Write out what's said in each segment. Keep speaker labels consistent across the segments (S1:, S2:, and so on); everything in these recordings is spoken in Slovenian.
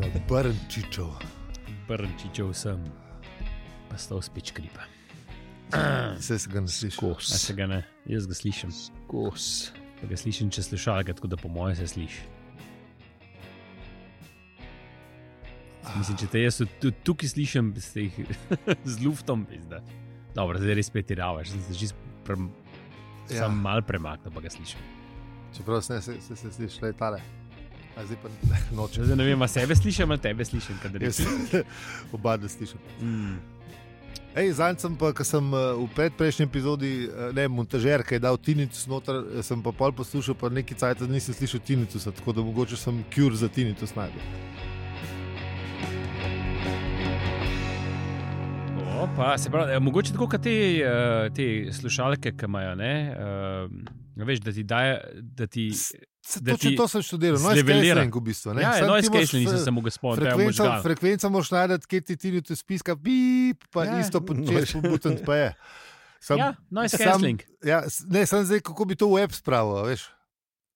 S1: Brnčičev.
S2: Prnčičev sem, pa sta uspič kripa.
S1: Vse se ga ne sliši.
S2: A se ga ne, jaz ga slišim.
S1: Kos.
S2: Pa ga slišim, če slušalka, tako da po moje se sliši. Mislim, če te jaz tu- tukaj slišim, ste jih z luftom, pizda. Dobro, zdaj res peti ravaš, sem se že pre, ja.
S1: Ja.
S2: sam mal premaknil, pa ga slišim.
S1: Čeprav se, se, se, se sliši, le tale. A zdaj pa noče.
S2: Zdaj ne vem, a sebe slišim, ali tebe slišim, kadar
S1: Jaz
S2: res.
S1: oba ne slišim.
S2: Mm.
S1: Ej, zanj sem pa, ker sem eh, v predprejšnji epizodi, eh, ne, montažer, ki je dal tinitus noter, eh, sem pa pol poslušal, pa nekaj cajt nisem slišal tinitusa, tako da mogoče sem cure za tinitus najdel.
S2: Opa, se pravi, eh, mogoče tako kot te, eh, te slušalke, ki imajo, ne, eh, veš, da ti daje, da ti.
S1: Se,
S2: Da
S1: točno
S2: ti
S1: to sem študiral, no,
S2: zlevelira.
S1: izkajšen v bistvu. ne.
S2: Ja,
S1: Samo
S2: no,
S1: ti moraš,
S2: izkajšen nisem
S1: eh,
S2: se mogel spomniti, da je
S1: Frekvenca,
S2: možgal.
S1: frekvenca moraš najti, kje ti tiri tu spiska, bip, pa
S2: Ja,
S1: ja, isto
S2: moraš.
S1: počneš, pobutent pa je. Sam,
S2: Ja,
S1: ja.
S2: noise
S1: sam-
S2: cancelling.
S1: Ja, s- ne, sem zdaj, kako bi to v app spravil, a veš.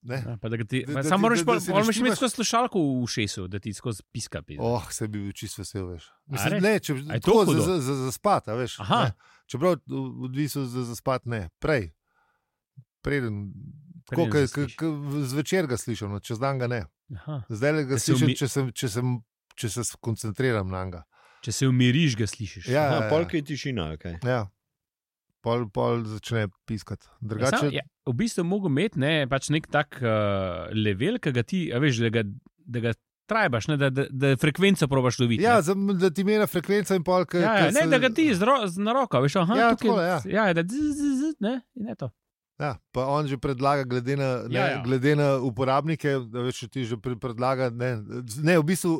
S1: Ne?
S2: Ja, pa da ga ti-
S1: Da-
S2: pa
S1: da
S2: Samo
S1: ti-
S2: moraš
S1: da-
S2: pa-
S1: da si
S2: pol moraš
S1: naštimaš-
S2: imeti skozi slušalko v šesu, da ti skozi piska pije.
S1: Oh, se bi bil čisto vesel, veš.
S2: res?
S1: Mislim, ne, če
S2: Ja. A je to
S1: tako
S2: hudo?
S1: za, za, za, za spat, a veš.
S2: Aha.
S1: Ne. Čeprav v- odvisno za, za spat, ne, prej. Preden, tako,
S2: Preden
S1: ka, ka,
S2: zasliš.
S1: ka, zvečer ga slišim, no, čez dan ga ne.
S2: Aha.
S1: Zdaj
S2: Da
S1: ga
S2: se
S1: slišim,
S2: umi-
S1: če, sem, če, sem, če se koncentriram na njega.
S2: Če se umiriš, ga slišiš.
S1: Ja, ja,
S3: Ja,
S1: ja.
S3: polk je tišina, kaj.
S1: Ja. Pol, pol začne piskati.
S2: Ja,
S1: Drugače,
S2: sam, ja, v bistvu mogo imeti ne, pač nek tak uh, level, ki ga ti, a veš, da ga, da ga trajbaš, ne, da, da, da frekvenco probaš loviti. ne.
S1: Ja, za, da ti mena frekvenca in pol, kaj.
S2: Ja, ja, ne, da ga ti z, ro, z na roko, veš, aha,
S1: Ja,
S2: tukaj,
S1: takole, ja.
S2: ja, da zzz, zzz, zzz, ne, in je to.
S1: Ja, pa on že predlaga, glede na, ne,
S2: Ja,
S1: ja,
S2: ja.
S1: ja. Glede na uporabnike, da več ti že pre- predlaga. Ne, ne, v bistvu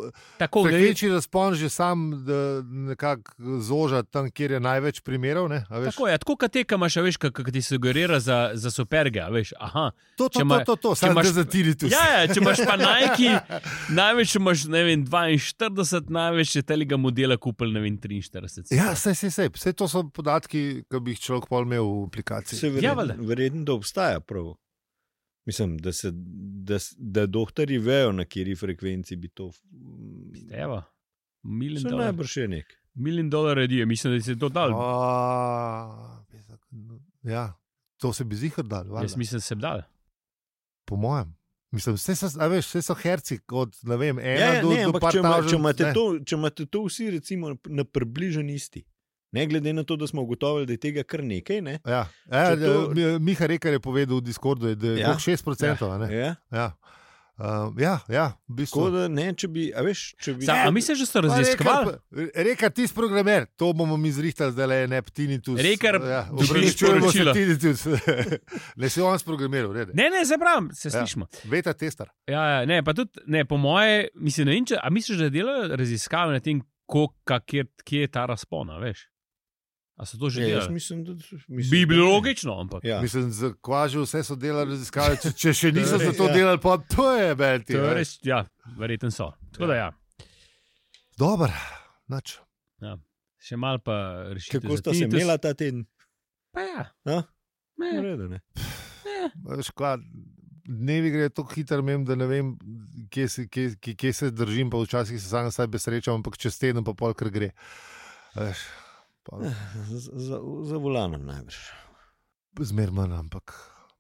S2: Tako gre.
S1: frekvenčni razpon že sam da nekako zoža tam, kjer je največ primerov. Ne, a veš.
S2: Tako je, tako kot teka imaš, a veš, kako ti sugerira za, za superge, a veš, aha.
S1: to, to,
S2: če ima-
S1: to, to, to,
S2: če
S1: samo
S2: imaš-
S1: da zatiri tu.
S2: Ja, ja, če imaš pa najki, največ imaš, ne vem, 42, največ je tega modela kupil, ne vem, 43.
S1: Ja, sej, sej, sej. Vse to so podatki, ki bi jih človek pol imel v aplikaciji.
S3: Se
S2: valjda.
S3: verjetno, verjetno, da obstaja prav. Mislim, da, se, da, s- da dohtari vejo, na kateri frekvenci bi to.
S2: Evo, milijon
S3: Še
S2: dolarjev.
S3: najbrž je nek.
S2: Milijon dolarjev redijo, mislim, da se je to dal.
S1: A, bi se- Ja, to se bi zihar dal,
S2: Jaz
S1: valjda.
S2: mislim, da se je dal.
S1: po mojem. Mislim, vse so, a veš, vse so herci od ne vem, ena
S3: Ja, ja,
S1: do,
S3: ne,
S1: do
S3: ampak
S1: par
S3: če, ima, če,
S1: tavžent,
S3: imate
S1: ne.
S3: to, če imate to vsi recimo, na približen isti, ne glede na to, da smo ugotovili, da je tega kar nekaj, ne?
S1: Ja. Ja,
S3: Če to-
S1: to... Miha Rekar je povedal v Discordu, da je
S3: Ja.
S1: ja. 6%. a ne?
S3: Ja,
S1: Ja. Um, ja, ja, v bistvu.
S3: tako da ne, če bi, a veš, če bi. Ja,
S2: Sa, a misliš, da so
S1: Ja, Pa
S2: raziskovali?
S1: Rekar, pa- Rekar, ti si programer, to bomo mi zrihtali, da le ne ptinitus.
S2: Rekar,
S1: ja,
S2: dobiš
S1: opravičujemo se
S2: sporočilo.
S1: tinitus. ne si on sprogramiral, rede.
S2: Ne, ne, se pravim, se ja.
S1: Ja.
S2: slišimo.
S1: Beta tester.
S2: Ja, ja, ne, pa tudi, ne, po moje, mislim, ne vem, če, a misliš, da delajo raziskave na tem, ko, ka, kjer, kje je ta razpona, veš? A so to že
S3: Ja, jaz
S2: delali?
S3: mislim, da mislim,
S2: Bi
S3: da
S2: bilo
S3: ne.
S2: logično, ampak.
S3: Ja.
S1: Mislim, za kvaže vse so delali raziskave, če, če še niso
S3: Torej,
S1: za to
S3: ja.
S1: delali, pa to je belti.
S2: To je res, ja, verjetno so. Tako da ja,
S1: Dober, nač.
S2: še malo pa rešitev.
S3: Kako
S2: za
S3: sta se
S2: tinnitus.
S3: imela ta teden?
S2: Pa ja.
S3: A? V
S2: Ne,
S3: redu, ne.
S1: Veš, kva, dnevi grejo tako hitro, mem, da ne vem, kje se, kje, kje, kje se držim. Pa včasih se sam sebe srečam, ampak čez teden pa pol, ker gre. A Veš, pol,
S3: Z- Za, za volanom najbrž.
S1: zmer manj, ampak.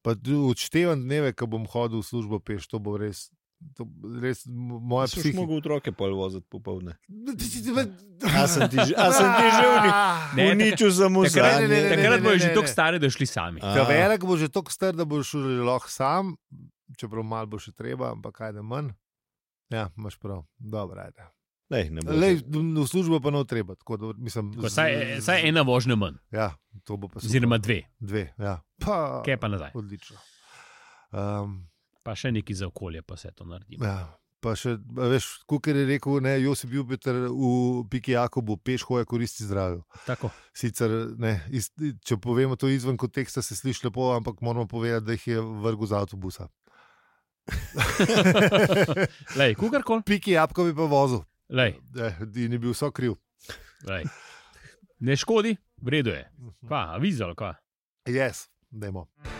S1: Pa tudi odštevam dneve, ko bom hodil v službo peš, to bo res. To bo res m- moja
S3: Jaz sem
S1: psiha.
S3: mogel otroke pol voziti popovdne. A
S1: Jaz
S3: sem ti že, a sem ti že
S2: Ne,
S3: v niču samo
S2: Takrat,
S1: ne, ne, ne,
S3: zadnje.
S2: takrat
S1: ne,
S2: bojo
S1: ne,
S2: že
S1: ne.
S2: tako stari, da šli sami.
S3: A.
S1: Kavelek bo že tako star, da boš šel lahko sam, čeprav malo bo še treba, ampak kaj da manj. Ja, imaš prav, dobro, ajde.
S3: Lej, ne bo.
S1: Lej, v službo pa ne bo treba. Tako, da, mislim,
S2: Tako,
S1: z-
S2: Saj, eh, saj ena vožnja manj,
S1: Ja, to bo pa super.
S2: oziroma dve,
S1: dve. Ja. Pa,
S2: kaj pa nazaj.
S1: Odlično. Um,
S2: Pa še nekaj za okolje, pa se to naredi.
S1: ja. Pa še, a veš, kukar je rekel, ne, Josip Jupiter v Piki Jakobu, peš hoja koristi zdravju.
S2: Tako.
S1: Sicer, ne, iz, če povemo to izven konteksta, se sliši lepo, ampak moramo povedati, da jih je vrgel z avtobusa.
S2: Lej, kukarkol,
S1: Piki Jakob je pa vozil
S2: lej,
S1: eh, in je bil vso kriv.
S2: lej. Ne škodi, v redu je. Kva, avizal, kva.
S1: Jaz, yes, dajmo.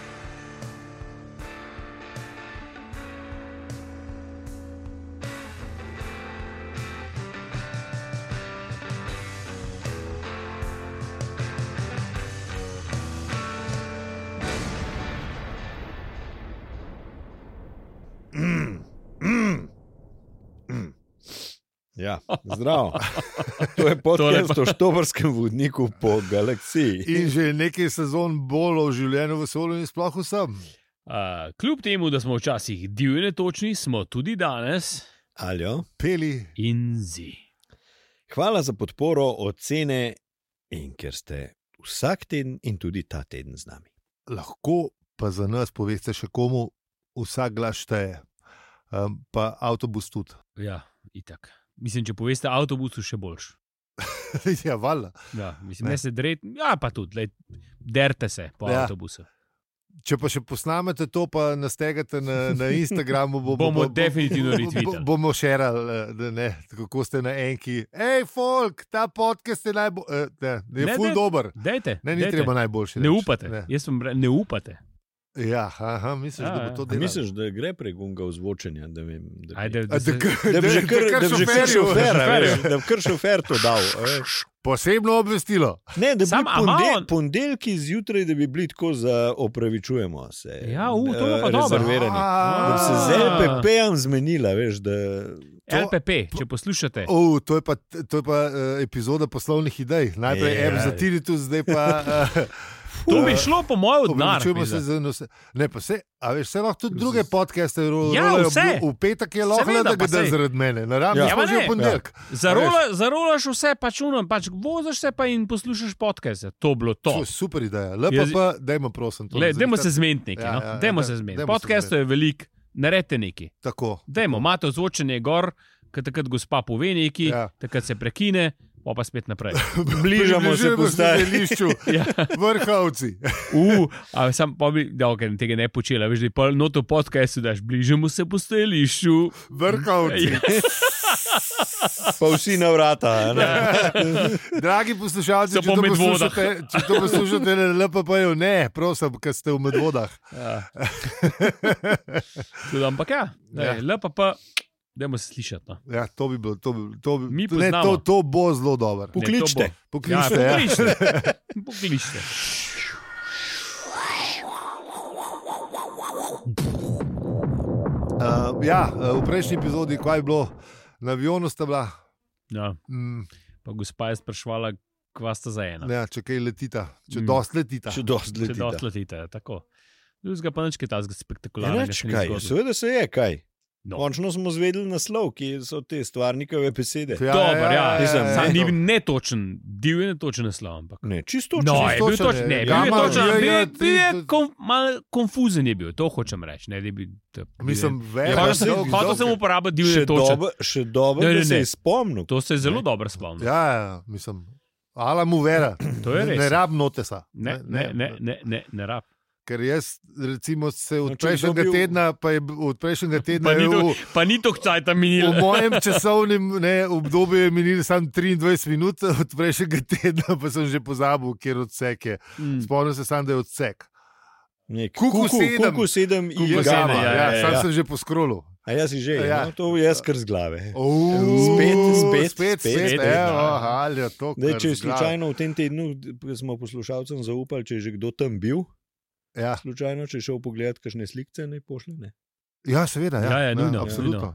S3: Ja, zdravo. To je podcast o Štobrskem vodniku po galaksiji.
S1: In že nekaj sezon bolj v življenju v vesolju in sploh vsem.
S2: Uh, kljub temu, da smo včasih divji netočni, smo tudi danes
S3: Aljo.
S1: Peli,
S2: in zi.
S3: Hvala za podporo, ocene in ker ste vsak teden in tudi ta teden z nami.
S1: lahko pa za nas poveste še komu, vsak glas šteje. Um, pa avtobus tudi.
S2: Ja, itak. Mislim, če poveste avtobusu, še boljš.
S1: ja, valjda.
S2: Ja, mislim,
S1: Ne.
S2: ne se drejte, ja, pa tudi, lej, derte se po
S1: Ja.
S2: ja. avtobusu.
S1: Če pa še posnamete to, pa nastegate na, na Instagramu, bo,
S2: Bomo
S1: bo, bo,
S2: definitivno
S1: bo,
S2: retweetali.
S1: bomo še rekli, kako ste na enki. Hej, folk, ta podcast je najbolj. Ne, ne,
S2: Ne,
S1: je ful
S2: ne.
S1: dober.
S2: Dajte,
S1: Ne, ni
S2: dajte.
S1: treba najboljši.
S2: Ne
S1: reči.
S2: upate,
S1: Ne.
S2: ne. jaz sem, ne upate.
S1: Ja, aha, misliš,
S2: Ja,
S1: da bo
S2: ja.
S1: to
S2: A
S1: delal?
S3: Misliš, da gre prek unga ozvočenja? Da, vem, da, bi-
S2: Ajde, da
S1: A, da,
S2: se-
S1: da,
S3: da bi že kar, da bi že kar
S1: šoferju.
S3: šofer, a
S2: šoferju.
S3: veš, da bi kar šofer to dal. a veš.
S1: Posebno obvestilo.
S3: Ne, da bi
S2: Sam,
S3: bili
S2: a ima
S3: pondel,
S2: on-
S3: ponedeljki zjutraj, da bi bili tako za opravičujemo se.
S2: Ja, u, to bo pa
S3: eh,
S2: dobro.
S3: rezervirani. Da bi se
S2: A.
S3: z LPP-jem zmenila, veš, da
S1: to-
S2: LPP, če poslušate.
S1: Oh, to je pa, to je pa uh, epizoda poslovnih idej. Najprej
S3: Ja.
S1: yeah. app za Tiritus, zdaj pa. Uh,
S2: To bi šlo po mojem
S1: Obračujemo
S2: odnaru.
S1: se za vse. E. Ne, pa vse, a veš, vse lahko tudi druge podcaste rolajo.
S2: Ja, vse.
S1: V petek je lahko,
S2: Seveda,
S1: da
S2: pa
S1: ga da
S2: sej.
S1: zaradi mene. Naravno, ja,
S3: Ja.
S2: Ja, pa
S1: smo že
S2: ne.
S1: v ponedeljek.
S2: Zarola, zarolaš vse, pač unam, pač voziš se pa in poslušaš podcaste. To bilo
S1: To
S2: to.
S1: je super ideja. Lepo
S2: Jaz-
S1: pa, dajmo prosim. to
S2: Le,
S1: nazaj.
S2: dajmo se zmeniti nekaj.
S1: Ja,
S2: Ja, no?
S1: ja, ja,
S2: ja, dajmo
S1: da-
S2: ja, se zmeniti.
S1: dajmo se
S2: Podcastov je veliko, naredite nekaj.
S1: Tako.
S2: Dajmo, imate ozvočenje gor, ker takrat gospa pove nekaj,
S1: Ja.
S2: ja. takrat se prekine, pa pa spet naprej.
S3: bližamo se postaji.
S1: Zelišču,
S2: Ja.
S1: vrhovci.
S2: Uh, a sam pa bi, da okay, tega ne počela, veš, da je pol noto podcastu, daš bližamo se postajališču.
S1: Vrhovci.
S2: Ja.
S3: Pa vsi na vrata. a ne.
S2: Ja.
S1: Dragi poslušalci,
S2: So
S1: če
S2: po
S1: to,
S2: Medvodah.
S1: poslušate, če to poslušate na LPP-ju, ne, prosim, ker ste v medvodah.
S2: Ja. Tudi, ampak ja,
S1: Ja.
S2: ja. lepa pa, dajmo se slišati. No.
S1: Ja, to bi bilo, to bi, to bi,
S2: Mi
S1: ne,
S2: poznamo.
S1: to, to bo zelo dobro.
S2: Ne, to
S3: Pokličite.
S2: bo. Ja,
S1: Pokličite, ja.
S2: pokličite. pokličite.
S1: Uh, ja, eh, v prejšnji epizodi, kaj je bilo, na avionu sta bila,
S2: Ja.
S1: mm,
S2: Pa gospa je sprašvala, kva sta za ena.
S1: ja, če kaj letita, če mm.
S2: Mm.
S1: dosti letita.
S3: Če dosti
S2: Če
S3: leti.
S2: dosti letite, tako. Ljudska pa nič kaj tazga spektakularnega.
S3: Reč
S2: se ni
S3: kaj,
S2: zgodilo.
S3: seveda se je kaj.
S2: No.
S3: Končno smo zvedeli naslov, ki so te stvarnikove besede.
S1: Ja,
S2: Dober, ja,
S3: Mislim,
S2: Sam
S3: ne,
S1: no.
S2: ni bil netočen, divji netočen naslov. Ampak.
S3: Ne, čisto
S2: No,
S3: čisto.
S2: je bil
S1: točen,
S2: točen,
S1: je.
S2: ne, bil je
S1: Gama,
S2: točen,
S1: je,
S2: bil
S1: je,
S2: je-
S1: ti-
S2: bil je
S1: ti-
S2: kom- malo konfuzen je bil, to hočem reči. Ne, da bi, to,
S1: Mislim, več.
S3: Ja,
S2: Hotel
S3: pa
S2: sem-
S3: saj-
S2: hotel sem uporabiti divji
S3: Še
S2: netočen.
S3: dobro, še dobro,
S2: Ne, ne,
S3: da se
S2: ne.
S3: je spomnil.
S2: To se je zelo
S3: Ne.
S2: dobro spomnil.
S1: Ja, ja, mislim. Ala mu vera,
S2: To je
S1: ne,
S2: res.
S1: ne rab notesa.
S2: Ne, ne, ne, ne, ne, ne rab.
S1: Ker jaz, recimo, se od
S3: No,
S1: no,
S3: če bi
S1: prejšnjega
S3: dobil-
S1: bil... tedna, pa je b- od prejšnjega tedna
S2: Pa ni
S1: je
S2: to-
S1: v,
S2: Pa ni to kdaj tam minilo.
S1: v mojem časovnem ne, obdobju je minilo samo 23 minut, od prejšnjega tedna pa sem že pozabil, kjer odsek je.
S2: Mm.
S1: Spomnim se sam, da je odsek.
S3: Nek-
S1: Kuku
S3: Kuku
S1: sedem.
S3: Kuku sedem
S2: Kuku
S3: in
S2: sedem,
S3: gama.
S2: ja,
S1: ja, sam
S3: ja.
S1: sem že poskrolil.
S3: A jaz si že,
S1: Ja.
S3: no, to jaz kar z glave.
S1: Spet,
S3: spet,
S1: spet,
S3: spet,
S1: spet,
S2: spet,
S1: evo,
S2: ja.
S1: halja, to,
S3: Dej,
S1: kar
S3: če je
S1: zgra-
S3: slučajno v tem tednu, ko smo poslušalcem zaupali, če je že kdo tam bil,
S1: Ja,
S3: slučajno, če je šel pogledat, kakšne slike ne pošle. Ne?
S1: ja seveda. Ja,
S2: Ja, ja, nujno.
S1: absolutno.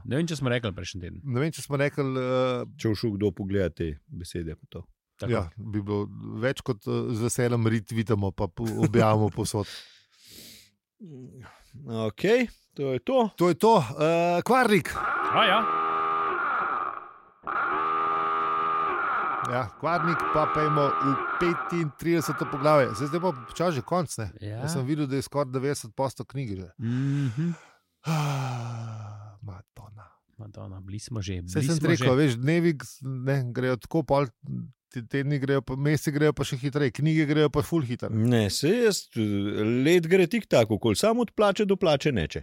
S2: nujno. Ne vem, če smo rekli prejšnji teden.
S1: Ne vem, če smo rekli, uh,
S3: Če je šel kdo pogledat te besede. pa to.
S2: Tako.
S1: ja, bi bilo več kot uh, z veseljem retvitamo, pa po- objavimo posod.
S3: Ok, to je to.
S1: To je to, uh, kvarnik.
S2: A, ja.
S1: Ja, kvarnik, pa pojmo v 35. poglavje. Zdaj, zdaj pa počasi že konc. ne?
S2: Ja.
S1: Jaz sem videl, da je skoraj 90% knjige že.
S2: Mhm.
S1: Ah, Madonna.
S2: Madonna, bili smo že.
S1: Vse
S2: Bili
S1: sem ti
S2: smo
S1: rekel,
S2: že.
S1: veš, dnevi ne, grejo tako, pol, te tedni grejo, pa, meseci grejo pa še hitreje, knjige grejo pa full hitro.
S3: Ne, se jaz, eh, let gre tik tako, kol sam od plače do plače neče.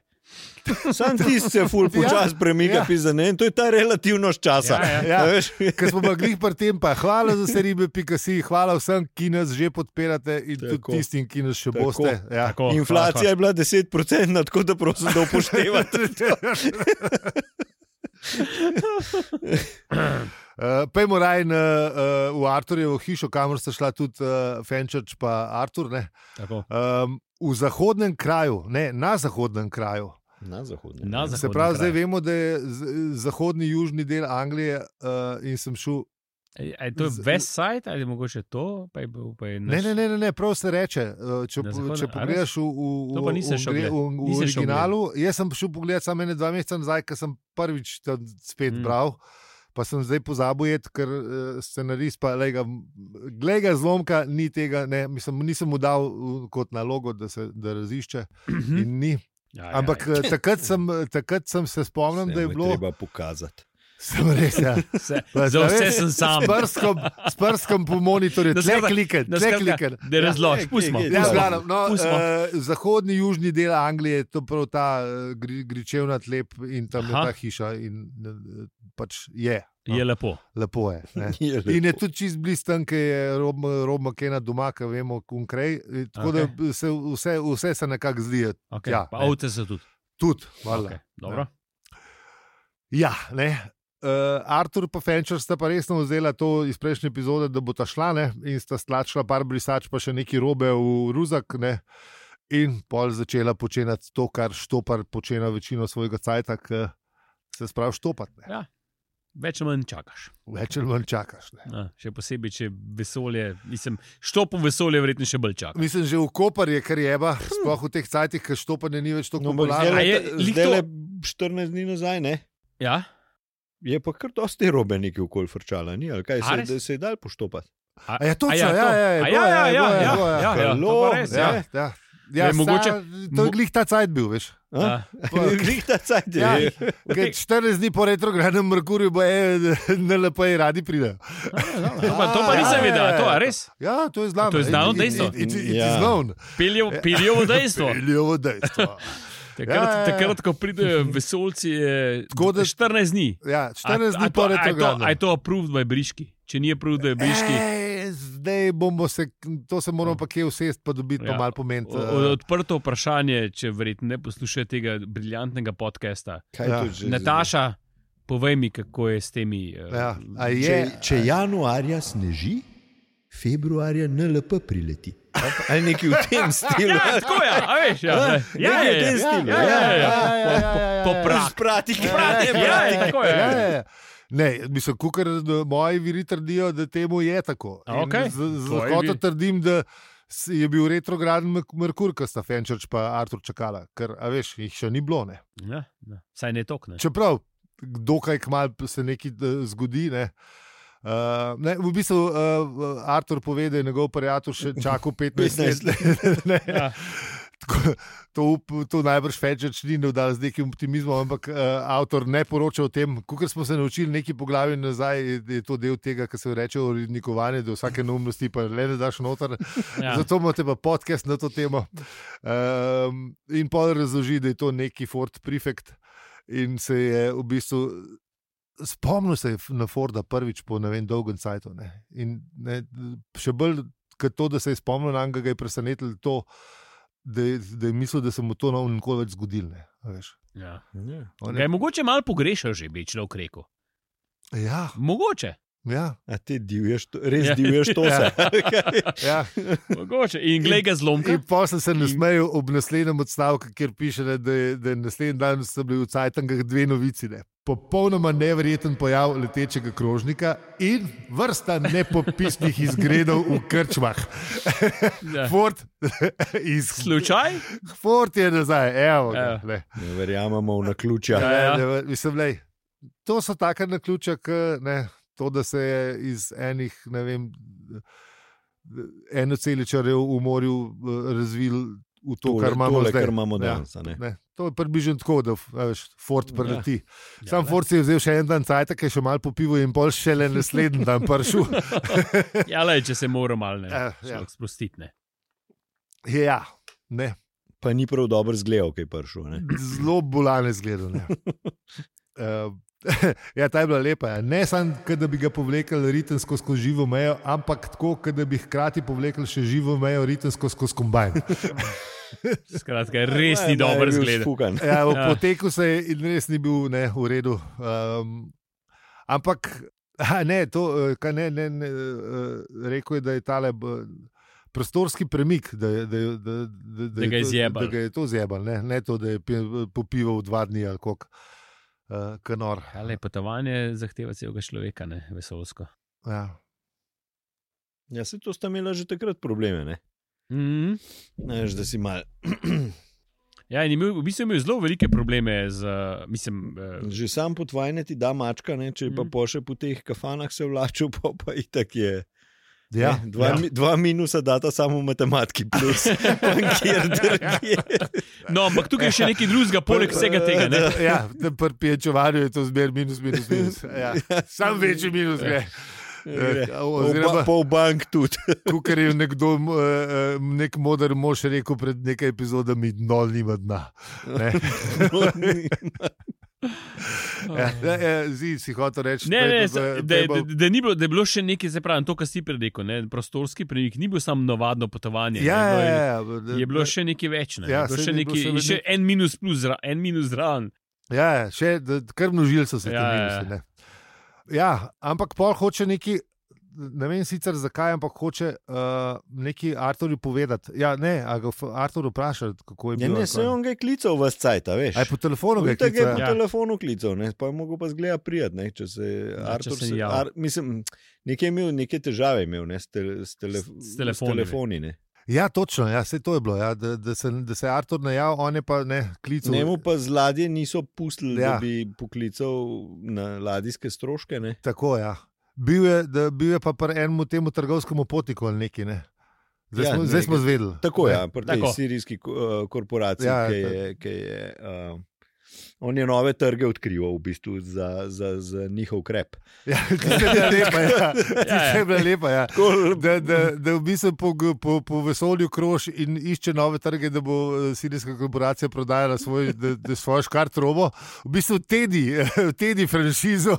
S3: Sam tisti se ful počasi premika,
S1: ja.
S3: ja. pizane, in to je ta relativnost časa.
S2: Ja, ja.
S1: Ja.
S3: A veš?
S1: Ker smo pa glih pri tem, pa hvala za vse ribe, pika si, hvala vsem, ki nas že podpirate in Tako.
S3: Tako.
S1: tudi tistim, ki nas še
S3: Tako.
S1: boste. Ja.
S2: Tako,
S3: Inflacija
S2: tako.
S3: je bila 10%, tako da prosim, da upoštevate.
S1: Uh, Pejmo raje na, uh, v Arturjevo hišo, kamor sta šla tudi uh, Fenčerč in Artur. ne.
S2: Tako.
S1: Um, v zahodnem kraju, ne na zahodnem kraju,
S3: Na zahodnem.
S2: Na zahodnem.
S1: Se pravi, zdaj
S2: kraju.
S1: vemo, da je z- zahodni južni del Anglije uh, in sem šel.
S2: A- a je To je
S1: Z-
S2: West Side ali mogoče to, pa je bil pa je naš...
S1: Ne, ne, ne, ne, ne, prav se reče. eh, Če,
S2: Na
S1: po-
S2: zahodnem, a
S1: če pogledaš v, v,
S2: To
S1: v,
S2: pa nisem šel
S1: v,
S2: gledat.
S1: v, v
S2: Nisem šel
S1: originalu, jaz sem šel pogledat samo ene dva meseca nazaj, ker sem prvič tam spet
S2: Mm.
S1: mm. bral. Pa sem zdaj pozabil, jet, ker eh, scenarist, pa le ga, glej ga zlomka, ni tega, ne, mislim, nisem mu dal eh, kot nalogo, da se da razišče.
S2: Mhm.
S1: In ni.
S2: Ja, ja,
S1: Ampak eh, takrat sem, eh, takrat sem se spomnil, da je bilo.
S3: Treba pokazati.
S1: Sem res, ja.
S2: ja. Vse,
S1: Pa,
S2: za
S1: a
S2: vse
S1: veš,
S2: sem sam.
S1: S prskom, s prskom po monitorju,
S2: Da
S1: tle
S2: skratka-
S1: kliken,
S2: Da
S1: tle
S2: skratka,
S1: kliken.
S2: Da razloži,
S3: Ja,
S2: pustimo.
S3: je, je,
S1: Ja,
S3: Pustimo.
S1: v glavnem, no, uh,
S2: Pustimo.
S1: zahodni, južni del Anglije je to prav ta uh, gri, gričevnat lep in
S2: Aha.
S1: tam je ta hiša. In, uh, pač je, no,
S2: Je lepo.
S1: lepo je. Ne.
S3: Je lepo.
S1: In je tudi čist blizu tam, ki je robno kena doma, ki vemo, konkrej. eh, Tako okay.
S2: Okej.
S1: da se vse, vse se nekako zdi.
S2: Okay. Ja,
S1: Ja,
S2: pa
S1: ne.
S2: ovce so tudi.
S1: Tudi,
S2: Okay.
S1: okay.
S2: Dobro.
S1: Ja, ne. Uh, Artur in Fenčer sta pa resno vzela to iz prejšnje epizode, da bo ta šla ne? in sta stlačila par brisač, pa še neki robe v ruzak. Ne? In pol začela počenjati to, kar štopar počenja večino svojega cajta, ki se spravi štopati. ne.
S2: Več ali manj čakaš.
S1: Več ali manj čakaš. Ne?
S2: Ja, še posebej, če vesolje, mislim, štopo vesolje, verjetno še bolj čakaš.
S1: Mislim, že v Kopar je kar jeba, sploh v teh cajtih, ker štopanje ni več tako
S2: No, zdaj
S1: popularno.
S2: A je lih to-
S3: Zdaj le 14 dni nazaj, ne?
S2: Ja?
S3: Je pa kar dosti robe neki okoli frčala, ni? Ali kaj
S2: A res?
S3: se, da se je dal poštopati?
S1: A ja,
S2: A
S1: točno, ja, ja,
S2: to?
S1: ja,
S2: A
S1: bilo
S2: ja,
S1: je,
S2: ja, ja,
S1: bilo je,
S2: ja,
S1: bilo je.
S2: ja, ja, to
S3: Halo,
S2: pa res, ja.
S1: Ja, ja.
S2: Ne,
S1: Ja, sta,
S2: mogoče-
S1: to
S2: mo-
S1: je glih ta cajt bil, veš.
S2: Ja.
S3: A?
S1: Pa-
S3: Glih ta cajt je.
S1: Ja.
S3: Ja.
S2: Okej.
S1: Okay. 14 dni po retrogradnem Merkurju, bo eh, NLP radi pridejo.
S2: To pa, to pa
S1: Ja,
S2: nisem
S1: ja,
S2: vedel,
S1: ja,
S2: to je
S1: ja.
S2: res.
S1: Ja, to je znano.
S2: To je znano
S1: It- it-
S2: dejstvo.
S1: it- it- it is
S3: Ja.
S1: known.
S2: Peljejo, peljejo v dejstvo.
S1: Peljevo dejstvo.
S2: Takrat,
S1: Ja, ja, ja.
S2: takrat ko pridejo vesolci, je
S1: Tako da-
S2: 14 dni.
S1: Ja, 14
S2: A- a to- a
S1: dni po
S2: je to-
S1: retrogradnem.
S2: A je to approved by briški? Če ni approved by briški,
S1: Ej, Zdaj bomo se, to se moramo pa kje usesti, pa dobiti
S2: Ja.
S1: ja. malo pomen.
S2: o- o- odprto vprašanje, če verjetno ne poslušate tega briljantnega podcasta.
S3: Kaj
S1: Ja.
S3: to že?
S2: Nataša, povej mi, kako je s temi. eh,
S1: Ja. A
S3: Če,
S1: je,
S3: če januarja sneži, februarja NLP prileti. Ali nekaj v tem stilu.
S2: Ja, tako je, a veš, ja.
S3: Ja,
S2: ne. Ja, ja,
S3: nekaj v tem
S2: ja.
S3: stilu.
S2: Ja, ja, ja, ja.
S1: Ja, ja, ja, ja,
S2: Po
S1: ja.
S2: prahu.
S3: Sprati,
S2: Prati, ja, ja, tako je.
S1: Ja, ja, ja. Ne, mislim, kukar, da moji viri trdijo, da temu je tako. In
S2: Okej.
S1: Z z
S2: Tvoji
S1: lahkoto
S2: viri.
S1: trdim, da s- je bil retrograden Merk- Merkur, ki sta Fenčerč in Artur čakala, ker a veš, jih še ni bilo. Ne.
S2: Ja, ja. Saj ne tokne.
S1: Čeprav, dokaj kmalo se nekaj eh, zgodi. Ne. Uh, ne, v bistvu uh, Artur pove, da je njegov prijatelj še čakal 15 let. ne,
S2: Ja.
S1: Tako, to, up, to najbrž Fedžeč ni navdal z nekim optimizmom, ampak uh, avtor ne poroča o tem, kot smo se naučili neki poglavje nazaj, je, je to del tega, kar se reče urednikovanje, da vsake neumnosti pa le ne daš noter.
S2: Ja.
S1: Ja. Zato imate pa podcast na to temo. Um, in pol razloži, da je to neki Ford prefekt in se je v bistvu. Spomnil se je na Forda prvič po ne vem, dolgem času. Še bolj kot to, da se je spomnil na njega, ga je presenetilo to, da je, da je mislil, da se mu to ne bo nikoli več zgodilo. ne, a veš.
S2: Ja.
S1: On
S2: Ga je
S1: je-
S2: mogoče malo pogrešal, že bi človek rekel.
S1: Ja,
S2: Mogoče.
S1: ja,
S3: A ti divješ, to- res
S2: Ja.
S3: divješ to se.
S1: ja.
S2: mogoče. In glej ga zlomka.
S1: In pa sem se nasmejal ob naslednjem odstavku, kjer piše, ne, da je, da je naslednji dan so bili v Cajtangah dve novici. Ne. Popolnoma neverjeten pojav letečega krožnika in vrsta nepopisnih izgredov v krčmah.
S2: Ja.
S1: Ford, iz,
S2: Slučaj?
S1: Ford je nazaj, evo. Ga,
S2: Evo.
S1: ne.
S3: Ne verjamemo v naključja.
S2: Ja, ja.
S1: Ne, ne, mislim, lej, to so taka naključja, ke, ne, to, da se je iz enih, ne vem, enoceličarjev v morju eh, razvil v to,
S3: Tole-
S1: kar imamo
S3: tole,
S1: zdaj.
S3: kar imamo
S1: Ja,
S3: danes. a ne.
S1: Ne, to je približno tako, da a veš, Ford preleti.
S2: Ja,
S1: Ja. Sam
S2: ne.
S1: Ford si je vzel še en dan cajt, ki je še malo popil in pol še le naslednji dan pršil.
S2: Ja, le, če se moram malo ne,
S1: Ja, ja.
S2: človek sprostiti. ne.
S1: Ja, ne,
S3: Pa ni prav dober zgled, kaj je prišel. ne.
S1: zelo bolane zgledu. Uh, ja, ta je bila lepa. Ja. Ne samo, ke da bi ga povlekel ritemsko skozi živo mejo, ampak tako, ke da bi hkrati povlekel še živo mejo ritemsko skozi kombajn.
S2: Skratka, res
S3: Ja,
S2: ni
S3: ja, je
S2: dober
S3: bil
S2: zgled.
S3: sfukan.
S1: Ja, v
S2: Ja.
S1: poteku se je in res ni bil ne, v redu. Um, ampak, a ne, to, eh, kaj ne, ne, ne eh, rekel je, da je tale b- prostorski premik, da, je- da, je- da, da, da,
S2: Da
S1: je
S2: ga je
S1: to-
S2: zjebalo.
S1: Da ga je to zjebal, ne, ne to, da je pi- popival dva dni ali kako. Uh, kanor.
S2: Ale, potovanje zahteva celega človeka, ne vesolsko.
S1: Ja.
S3: Ja, se to sta imela že takrat probleme, ne?
S2: Mm.
S3: Znaš, da si mal,
S2: Ja, in je imel, v bistvu je imel zelo velike probleme z, eh, mislim, eh,
S3: že sam potvajne ti da mačka, ne? če je pa
S2: Mhm.
S3: po še po teh kafanah se vlačil, pa pa itak je.
S1: Ja,
S3: ne?
S1: ja.
S3: dva, mi- dva minusa data samo v matematiki, plus bankir, drugje.
S2: no, ampak tukaj je še nekaj drugega, poleg vsega tega. Ne?
S1: Ja, da pri pijačevanju je to zmer minus, minus, minus. Ja. Sam večji minus gre.
S2: Ja.
S3: Gre.
S1: Eh,
S3: Pol ba-
S1: Oziroma,
S3: Pol bank tudi.
S1: kukar je nekdo, m, eh, eh, nek moder mož rekel pred nekaj epizodami, dno nima dna. Ne? Ja, ja, Zdi si hotel reči,
S2: Ne, ne, da,
S1: da je
S2: da, da, da, ni bilo, da je bilo še nekaj, se pravi, to, kar si prej rekel, ne, prostorski premik, ni bil samo navadno potovanje. ne,
S1: Ja,
S2: bilo
S1: ja,
S2: je-
S1: ja, da-
S2: Je bilo še nekaj več, ne?
S1: Ja,
S2: je bilo
S1: saj
S2: še,
S1: ni bilo
S2: nekaj,
S1: še vedno-
S2: še en minus plus, zra- en minus zraven.
S1: Ja, ja, še da- kar množili so se
S2: Ja,
S1: ja, ti
S2: ja,
S1: minusi. ne. Ja, ampak pol hoče neki. Ne vem sicer zakaj, ampak hoče uh, neki Arturju povedati. Ja, ne, a ga f- Artur vpraša, kako je
S3: Ja,
S1: bilo.
S3: ne, se on ga je klical v scajta, veš.
S1: Aj po telefonu ga je
S3: Tako je
S1: klical.
S3: po
S1: ja.
S2: ja.
S3: telefonu klical, ne, pa je mogel pa zgleda prijat, ne, če se je
S2: Ja, če
S3: Artur.
S2: se ni javil.
S3: Ar, mislim, nekaj je imel, neke težave je imel, ne, s, tele, s, telef
S2: S- s telefoni,
S3: S telefoni ne.
S1: ja, točno, ja, vse to je bilo. Ja, da, da, se, da se je Artur najavil, on je pa ne klical.
S3: Njemu pa z ladje niso pustili,
S1: Ja.
S3: ja. da bi poklical na ladijske stroške, ne.
S1: Tako, ja. Bil je, da, bil je pa pri enemu temu trgovskemu potniku ali neki. Ne. Zdaj,
S3: Ja,
S1: ja, smo, zdaj
S3: nekaj.
S1: smo zvedeli.
S3: Tako
S1: Ne.
S3: je, ja, pri tej
S2: Tako.
S3: sirijski ko- eh, korporaciji,
S1: Ja,
S3: ja, ki
S1: ja, to-
S3: je. Ki je uh, On je nove trge odkrival v bistvu za, za, za njihov krep.
S1: Ja, tista je bila lepa, ja. Tista
S2: ja.
S1: je bila lepa, ja.
S3: Tako,
S1: Da, da, da v bistvu po, g- po, po vesolju krož in išče nove trge, da bo eh, sirijska korporacija prodajala svoj, da, da svojo škartrobo. V bistvu tedi, tedi franšizo.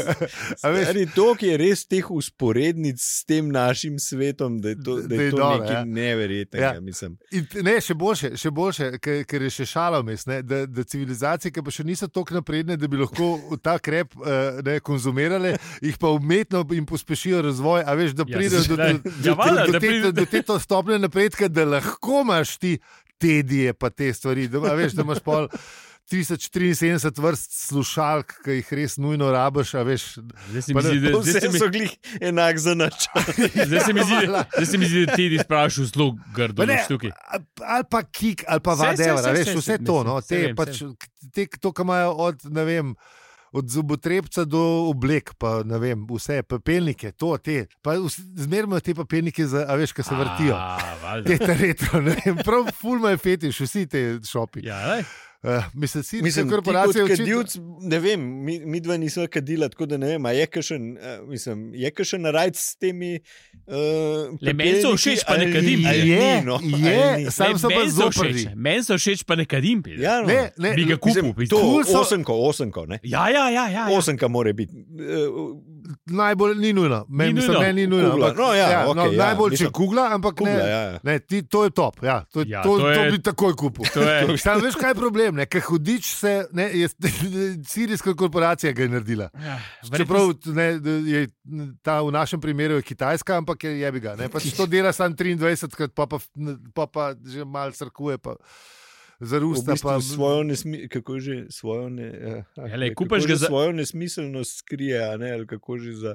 S1: A veš-
S3: Stari, to je res teh usporednic s tem našim svetom, da je to, da je to
S1: dobro,
S3: nekaj
S1: ja.
S3: ja. neverjetnega. Ja.
S1: Ja.
S3: Mislim,
S1: In t- ne, še boljše, še boljše ker, ker je še šalo mes, ne, da, da civilizacije, ki pa še niso tako napredne, da bi lahko v ta krep eh, ne, konzumirale, jih pa umetno jim pospešijo razvoj, a veš, da
S2: Ja,
S1: pridejo do, do,
S2: da- ja,
S1: do,
S2: valjda,
S1: do,
S2: da
S1: do, te,
S2: pride-
S1: do, do te to stopnje napredka, da lahko imaš ti tedije, pa te stvari, da, a veš, da imaš pol. 1073 vrst slušalk, ki jih res nujno rabiš, a veš,
S2: Zdaj se
S1: Pa
S2: mi
S1: ne,
S2: zdi, da,
S3: pa
S2: zdaj se
S3: Vse
S2: mi,
S3: so glih enak za načrt.
S2: zdaj se mi zdi, da- zdaj se mi zdi, da ti ti sprašuješ zelo grdo.
S1: Pa ne,
S2: veš, tukaj.
S1: a- Ali pa kik, ali pa
S2: Saj, saj,
S1: vadeva,
S2: saj,
S1: veš,
S2: saj,
S1: vse
S2: saj,
S1: to.
S2: mislim,
S1: No,
S2: saj
S1: te,
S2: vem,
S1: pač, te, to, kar imajo od, ne vem. Od zobotrebca do oblek, pa ne vem, vse papelnike, to, te. Pa vs- Zmeraj imajo te papelnike, za, a veš, ki se vrtijo.
S2: A, valjda.
S1: Te te retro, ne vem, prav fulma je fetiš, vsi te šopi.
S2: Ja, lej.
S1: Uh, mislim, si,
S3: Mislim,
S1: korporacije
S3: korporacije.
S1: očitno-
S3: Kadilc, ne vem, mi, mi dva nisva kadila, tako da ne vem, a je kakšen, eh, mislim, je kakšen rajc s temi. Uh,
S2: Le meni so všeč, pa ne kadim.
S3: Ali
S1: Je,
S3: ni, no,
S1: je,
S3: ali ni.
S1: Sam
S2: Lej,
S1: so pa
S2: meni so
S1: zoprni.
S2: všeč, Meni so všeč, pa ne kadim. pizda.
S3: Ja, no.
S1: Ne, ne,
S2: Bi ga kupil.
S3: Mislim,
S2: pizda.
S3: to
S1: Kul so-
S3: osemko, osemko, ne.
S2: Ja, ja, ja. ja, ja.
S3: Osemka mora biti.
S1: Ja,
S3: eh,
S1: Najbolj ni nujno, meni
S2: Ni
S1: ni nujno.
S2: nujno.
S1: Meni ni nujno
S3: Kugla.
S1: ampak,
S3: No, ja,
S1: no,
S3: okej, ja,
S1: najbolj če
S3: mislim-
S1: kugla, ampak
S3: Kugla,
S1: ne.
S3: ja, ja.
S1: Ne, ti, to je top, ja. to,
S2: Ja,
S1: ja, to,
S2: to
S1: to, je...
S2: je-
S1: to bi takoj kupil.
S2: To je-
S1: Sam veš, kaj je problem, ne? ker hudič se ne, je sirijska korporacija ga je naredila.
S2: Ja,
S1: Čeprav ne, da je ta v našem primeru je Kitajska, ampak je jebi ga. ne. Pač to dela sam 23krat, pa pa, pa pa že malo crkuje, pa zarusta.
S3: V bistvu
S1: pa,
S3: svojo nesmi, kako že svojo ne, eh,
S2: Ja, lej,
S3: kako
S2: kupaš
S3: že
S2: ga za-
S3: svojo nesmiselnost skrije, a ne, ali kako že za.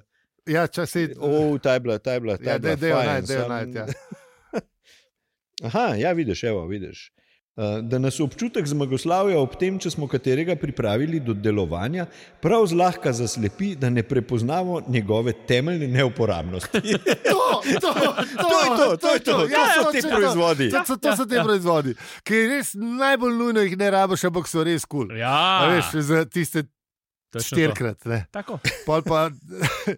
S1: ja, časi,
S3: O, ta je bila, ta je bila, ta
S1: ja,
S3: je bila.
S1: da je
S3: fajn,
S1: najti, da je
S3: samo-
S1: najti. Ja.
S3: Aha, ja, vidiš, evo, vidiš. Eh, Da nas občutek zmagoslavja ob tem, če smo katerega pripravili do delovanja, prav zlahka zaslepi, da ne prepoznamo njegove temeljne neuporabnosti.
S1: To, to,
S3: To je to, to je to, to
S1: Ja,
S3: so ti
S1: točno to.
S3: proizvodi.
S1: To, to, to so ti
S2: Ja.
S1: proizvodi, ki res najbolj nujno jih ne rabiš, ampak so res kul. Cool. A
S2: Ja,
S1: Veš, za tiste
S2: točno to.
S1: štirikrat. ne.
S2: Tako,
S1: Pol pa,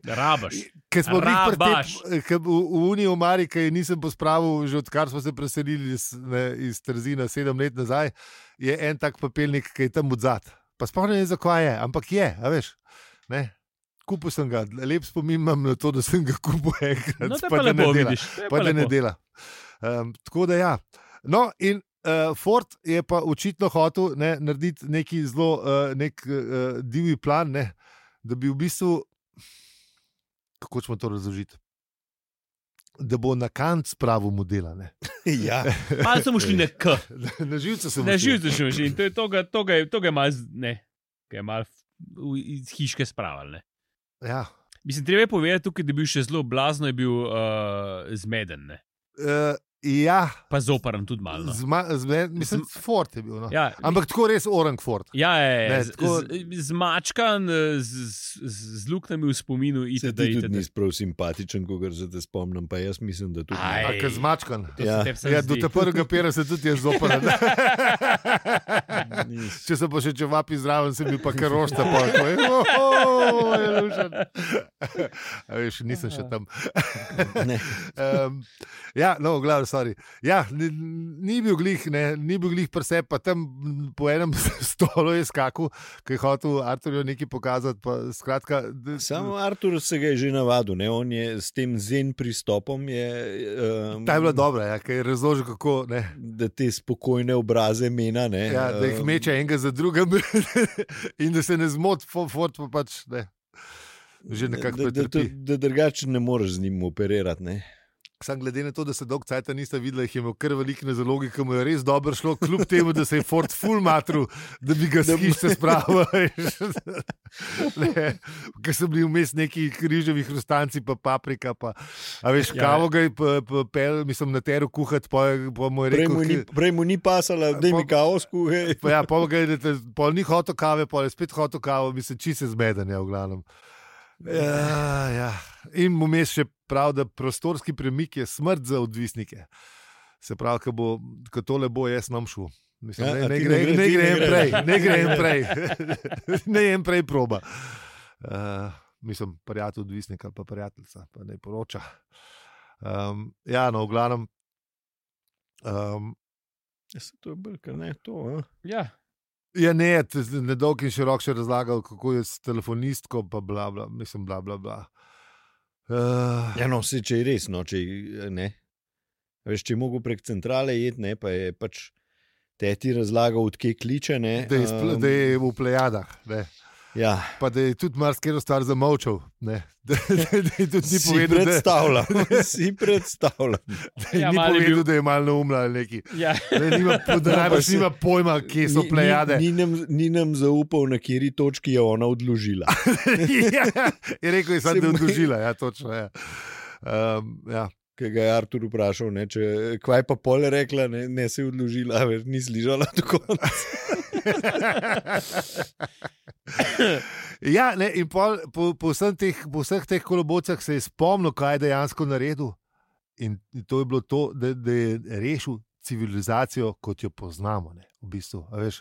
S2: rabaš.
S1: Ker smo bili pri
S2: Rabaš.
S1: tem, ke v, v Uniji, v Mari, ki je nisem pospravil, že odkar smo se preselili iz, ne, iz Trzina sedem let nazaj, je en tak papirnik, ki je tam odzad. Pa spomnim se, zakaj je, ampak je, a veš. Ne? Kupil sem ga, lep spomin imam na to, da sem ga kupil enkrat.
S2: No, to je
S1: pa
S2: pa
S1: da ne
S2: lepo,
S1: dela.
S2: vidiš. to je
S1: pa da ne
S2: lepo.
S1: dela. Um, tako da ja. No, in uh, Ford je pa očitno hotel ne, narediti neki zelo uh, nek, uh, divji plan, ne, da bi v bistvu. Kako hočemo to razložiti? da bo na kant spravil modela. Ne,
S3: ja.
S2: Malo smo šli na K,
S1: na živce sem.
S2: na
S1: mu šel.
S2: živce smo šli in to je toga, toga, je- toga je malo, z- ne, ga je malo v- iz hiške spravljal. ne.
S1: Ja.
S2: Mislim, treba je povedati tukaj, da je bil še zelo blazno, je bil uh, zmeden, ne.
S1: Uh, ja,
S2: pa zoparan tudi malo. no.
S1: zma, zme, mislim, Ford je bil. No.
S2: Ja,
S1: Ampak tako res orang Ford.
S2: Ja, ja, ja,
S1: Ne,
S2: z-
S1: tako-
S2: z- Zmačkan, eh, z, z, z- z luknjami v spominu,
S3: Se
S2: itd.
S3: ti tudi
S2: itd.
S3: nisi prav simpatičen, kot se te spomnim, pa jaz mislim, da tudi
S2: Aj,
S3: ne.
S1: Tako zmačkan.
S2: To se
S3: Ja.
S2: tebi samo
S1: Ja, do
S2: zdi.
S1: te prvega pera se tudi jaz zoprem.
S3: Nisi.
S1: Če se bo še čevapi zraven, se bi pa kar rošta pojko. Veš, nisem še tam.
S3: Ne.
S1: um, ja, no, glavno, sorry. Ja, ni, ni bil glih, ne, ni bil glih prse, pa tam m, po enem stolu je skakal, ki je hotel Arturju nekaj pokazati. Pa, skratka, d-
S3: Samo Artur se ga je že navadil, ne? on je s tem zen pristopom. Je, um,
S1: Ta je bila dobra, ja, ki je razložil, kako. Ne,
S3: Da te spokojne obraze mena. Ne, ehm,
S1: ja, da jih
S3: em,
S1: meče enega za drugim in da se ne zmoti, fort pa pač ne. Že nekako
S3: da, da, da,
S1: pretrpi.
S3: da drugače ne moreš z njim operirati. Ne?
S1: Sam glede na to, da se dolg cajt nista videla, jih je imel kar veliko na zalogi, ki mu je res dobro šlo, kljub temu, da se je Ford full matru, da bi ga
S3: Da bi-
S1: skišče spravil. veš. Ne, Ker so bili vmes neki križevi hrustanci, pa paprika. Pa, a veš,
S2: Ja.
S1: ja. kavo ga je pa- pa pel, mislim, na teru kuhati, pa, je- pa mu je
S3: Prej,
S1: rekel.
S3: mu
S1: ki-
S3: ni, prej mu ni pasala, da je mi
S1: Pa-
S3: kaos kuhaj.
S1: Pa ja, pol, ga je, da- pol ni hotel kave, pol je spet hotel kavo, mislim, čist je zmeden, je v glavnem. Ja, ja. In mu mes še pravi, da prostorski premik je smrt za odvisnike. Se pravi, ko bo ko tole bo, jaz nam šel. Mislim,
S3: Ja,
S1: ne,
S3: a
S1: ne,
S3: ti ne
S1: gre,
S3: gre,
S1: ne
S3: ti ne
S1: grem
S3: gre.
S1: prej, ne grem prej, ne grem prej proba. Uh, mislim, prijatelj odvisnika, pa prijateljica, pa ne poroča. Um, ja, no, v glavnem. Um,
S3: Ja, To je bilo, kar ne to. A?
S2: Ja,
S1: Ja, ne, t- z- na dolg in širok še razlagal, kako je s telefonistko, pa bla, bla, mislim, bla, bla. bla. Uh,
S3: Ja, no, se, če je res, no, če je- ne. A Veš, če je mogel prek centrale jeti, ne, pa je pač teti razlagal, odkje kliče. Ne,
S1: da, je spl, da je v plejadah, ne.
S3: ja,
S1: pa da je tudi marsikaj stvar zamolčal. Ne. Da, da, da je tudi ni
S3: si
S1: povedal, da,
S3: predstavljam, si predstavljam.
S1: da,
S2: Ja,
S1: ja, ni
S2: malo je
S1: povedal
S2: bil-
S1: da je malo neumna ali neki.
S2: ja.
S1: Da, nima, da
S3: No, pa
S1: najbrž
S3: se-
S1: nima pojma, kje so
S3: Ni- ni-
S1: plejade.
S3: Ni, nam- ni nam zaupal, na kateri točki je ona odložila.
S1: ja, je rekel, je sad,
S3: Se
S1: da je
S3: mu-
S1: odložila. Ja, točno, ja. Um, ja.
S3: Ki ga je Artur vprašal, ne, če, kaj je pa pol rekla, ne, ne se je odložila, a veš, ni slišala tako.
S1: ja, ne, in pol, po, po, vsem teh, po vseh teh kolobocah se je spomnil, kaj je dejansko naredil. In to je bilo to, da, da je rešil civilizacijo, kot jo poznamo. Ne, v bistvu, a veš.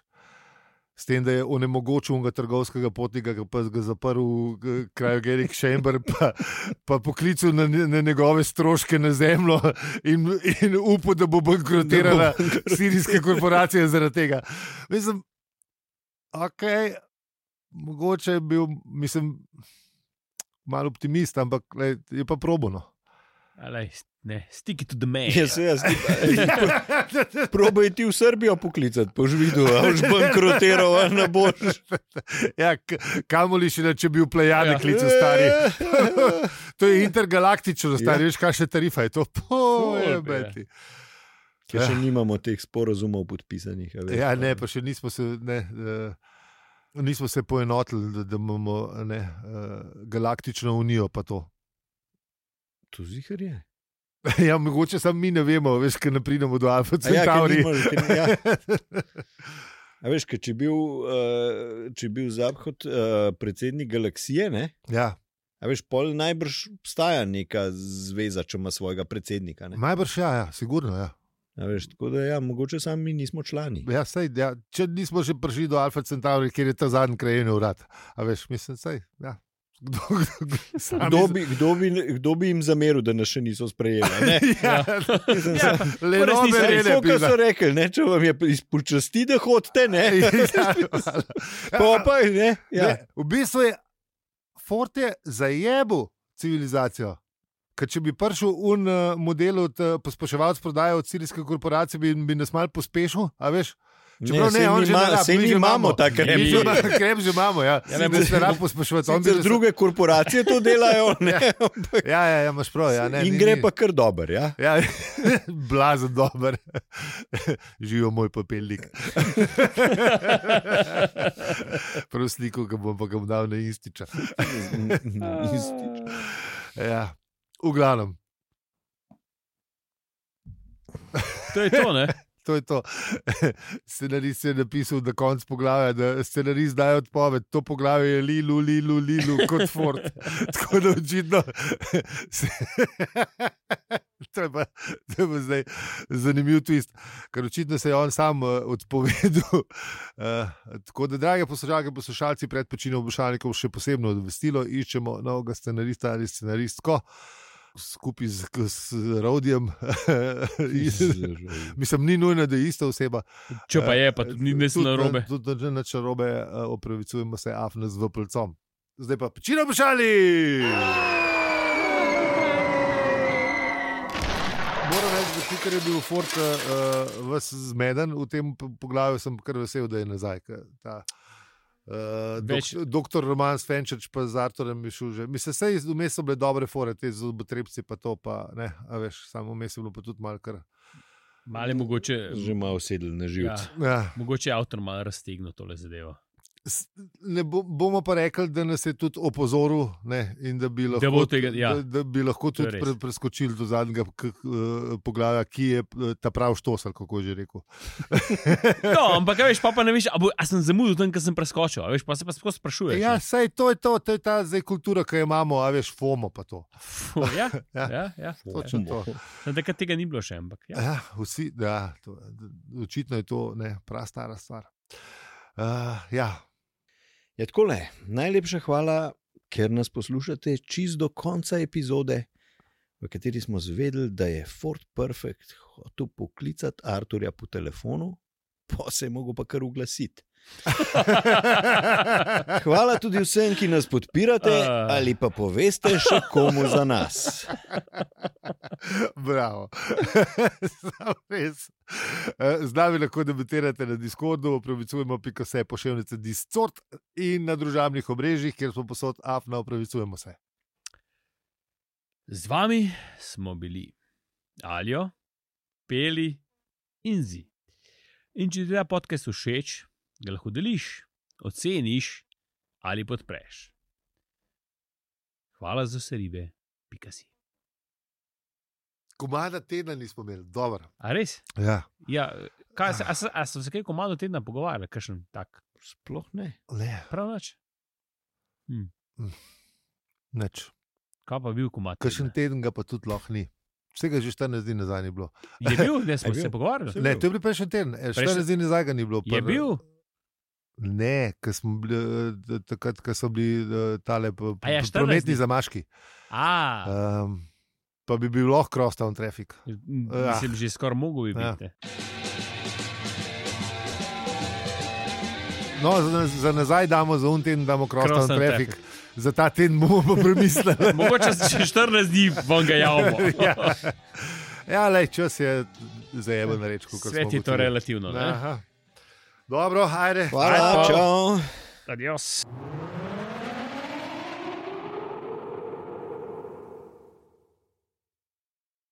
S1: S tem, da je onemogočil unega trgovskega potnika, ki pa ga zaprl v krajogenic Chamber, pa, pa poklical na, ne- na njegove stroške na zemljo in, in upal, da bo bankrotirala sirijske korporacije zaradi tega. Mislim, ok, mogoče je bil, mislim, malo optimist, ampak lej, je pa probono.
S2: Alej, ne, stick it to the man.
S3: Jaz, Ja, jaz, probaj ti v Srbijo poklicati, pa že videl, da boš bankrotiral, a ne boš.
S1: ja, k- kamoli še, ne, če bi v plejade
S2: Ja.
S1: klical stari. to je intergalaktično, stari,
S3: Ja.
S1: veš, kaj še tarifa je to.
S2: Ful,
S1: Pojebeti.
S3: Ker še nimamo teh sporazumov podpisanih. a veš.
S1: Ja, ne, pa še nismo se, ne, eh, nismo se poenotili, da, da imamo ne, eh, galaktično unijo. pa to.
S3: To zihar je.
S1: ja, mogoče samo mi ne vemo, veš, kaj ne pridemo do Alfa
S3: A Ja, ker
S1: Centauri.
S3: nimaš, ker ni- ja. A veš, ker če je bil, uh, če je bil Zabhod uh, predsednik galaksije, ne?
S1: ja,
S3: A veš, pol najbrž obstaja neka zveza, če ima svojega predsednika. Ne?
S1: najbrž ja, ja, sigurno. Ja.
S3: A Veš, tako da, ja, mogoče sami mi nismo člani.
S1: Ja, sej, ja. Če nismo še prišli do Alfa Centauri, kjer je ta zadnji krajevni urad. A veš, mislim, sej, ja. Kdo, kdo, kdo, sami-
S3: Kdo bi, kdo, bi, kdo bi jim zameril, da nas še niso sprejeli? a Ne?
S1: Ja,
S2: Ja, pa-
S1: le
S2: Ko
S1: robe,
S2: resnica
S1: le
S2: je
S1: ne
S3: Tako
S1: bi.
S3: kot so rekli, ne, če vam je izpočasti, da hodite, ne, pa pa ne. Ja.
S1: Ja. Ne, v bistvu je Fort je zajebil civilizacijo. Ker če bi prišel un eh, model od eh, pospeševalc prodaje od sirijske korporacije, bi, bi nas mal pospešil, a veš. Čeprav ne,
S3: saj
S1: on
S3: mi
S1: že
S3: ima-
S1: ne rab,
S3: sej
S1: mi
S3: mi
S1: že
S3: imamo
S1: imamo.
S3: ta
S1: Mi
S3: krem.
S1: že imamo, Krem že imamo, ja.
S2: Ja,
S1: ja
S2: ne,
S1: ne,
S2: bo-
S1: ne se rab pospešujete. On bi
S3: Sicer
S1: se-
S3: druge korporacije to delajo, ne, ampak
S1: Ja, ja, ja, imaš prav. Ja, ne,
S3: in
S1: ni-
S3: gre
S1: ni.
S3: pa kar dober. Ja?
S1: Ja, blazen dober, živijo moj papirnik. Prav sliko, ki bom pa ga bom dal na ističa.
S2: Isti.
S1: Ja, v glavnem,
S2: To je to, ne?
S1: to je to. Scenarist je napisal na koncu poglavja, da scenarist daje odpoved. To poglavje je lilu, lilu, lilu, kot Ford. Tako da očitno. se- To je, pa, to je pa zdaj zanimiv twist, ker očitno se je on sam uh, odpovedal. Uh, tako da, drage poslušalke, poslušalci, pred počinom Bošalnikov še posebno obvestilo, iščemo novega scenarista ali scenaristko. Skupaj z, z Rodijem, Mislim, ni nujno, da je ista oseba.
S2: Če pa je, pa tudi ni nič
S1: Ja, Tudi-
S2: narobe.
S1: Tudi ni nič narobe, eh, opravičujemo se, afne z vplcom. Zdaj pa pečino pošali! Moram reči, da tukaj je bil Fort uh, vas zmeden, v tem p- poglavju sem kar vesel, da je nazaj. ker Ta, uh,
S2: Več-
S1: dok, doktor Roman Svenčič pa z Arturem je šel že. Mislim, se je vmes so bile dobre fore, te zobotrebci pa to, pa ne, a veš, samo vmes je bilo pa tudi malkar.
S2: Mali mogoče,
S3: Že malo sedel
S2: ja,
S3: na živce.
S1: Ja.
S2: mogoče je avtor malo raztegnil tole zadevo.
S1: S- Ne bo, bomo pa rekli, da nas je tudi opozoril, ne, in da bi lahko,
S2: bo tega- ja.
S1: da, da bi lahko
S2: To je
S1: tudi
S2: res.
S1: pre, preskočili do zadnjega k, uh, poglavja, ki je eh, ta prav štos, ali kako je že rekel.
S2: No, ampak a veš, pa, pa ne veš, a, bo, a sem zamudil tam, ker sem preskočil, a veš, pa se pa sploh sprašuješ.
S1: Ja, saj to je to, to je ta zdaj kultura, ki jo imamo, a veš, FOMO pa to.
S2: Fu, ja, ja, ja, ja.
S1: Točno to.
S2: Na takrat tega ni bilo še, ampak ja.
S1: Ja, vsi, ja, to, očitno je to ne, prastara stvar. Uh, ja,
S3: Je tako le. Ja, Najlepša hvala, ker nas poslušate čist do konca epizode, v kateri smo zvedeli, da je Ford Perfect hotel poklicati Arturja po telefonu, pa se je mogel pa kar oglasiti. Hvala tudi vsem, ki nas podpirate
S2: Ah.
S3: ali pa poveste še komu za nas.
S1: Bravo. Sam res. Eh, Z nami lahko debatirate na Discordu, upravičujemo pika se pošiljnice Discord in na družabnih omrežjih, kjer smo posod afna, upravičujemo se.
S2: Z vami smo bili Aljo, Peli in Zi. In če ti ta podcast všeč, ga lahko deliš, oceniš ali podpreš. Hvala za vse ribe, pika si.
S1: Komada tedna nismo imeli, dobro.
S2: A res?
S1: Ja,
S2: Ja, kaj, se- a, se- a so se kaj komando tedna pogovarjali, kakšen tak?
S3: Sploh ne.
S1: ne,
S2: Prav noč?
S1: neč.
S2: Kaj pa je bil komando?
S1: Kakšen teden ga pa tudi lahko ni. Vsega že 14 dni nazaj ni bilo.
S2: Je bil, ne
S3: Je
S2: smo
S3: bil.
S2: se pogovarjali.
S1: Ne, to je bil prejšnji teden, eh,
S2: Prejšnji-
S1: 14 dni nazaj ga ni bilo.
S2: Je
S1: Pr-
S2: bil?
S1: Ne, ker smo bili eh, t- takrat, ko so bili eh, tale p-
S2: A ja, 14 dni.
S1: prometni zamaški.
S2: A,
S1: Um, pa bi bil lahko crosstown traffic.
S3: Eh,
S2: Ja. Mislim, že skoraj mogel bi
S1: Ja.
S2: biti. Ja.
S1: No, za, za nazaj damo, za un teden damo crosstown
S2: Crosstown
S1: traffic. Za ta teden bomo pa premislili.
S2: Mogoče se še 14 dni vam ga javimo.
S1: ja, ja le, čas je zajeben reč, kot smo
S2: Svet je to
S1: ugotovili. Ja.
S2: relativno. Ne?
S1: Aha. Dobro, ajde.
S3: Hvala, čau.
S2: Adios.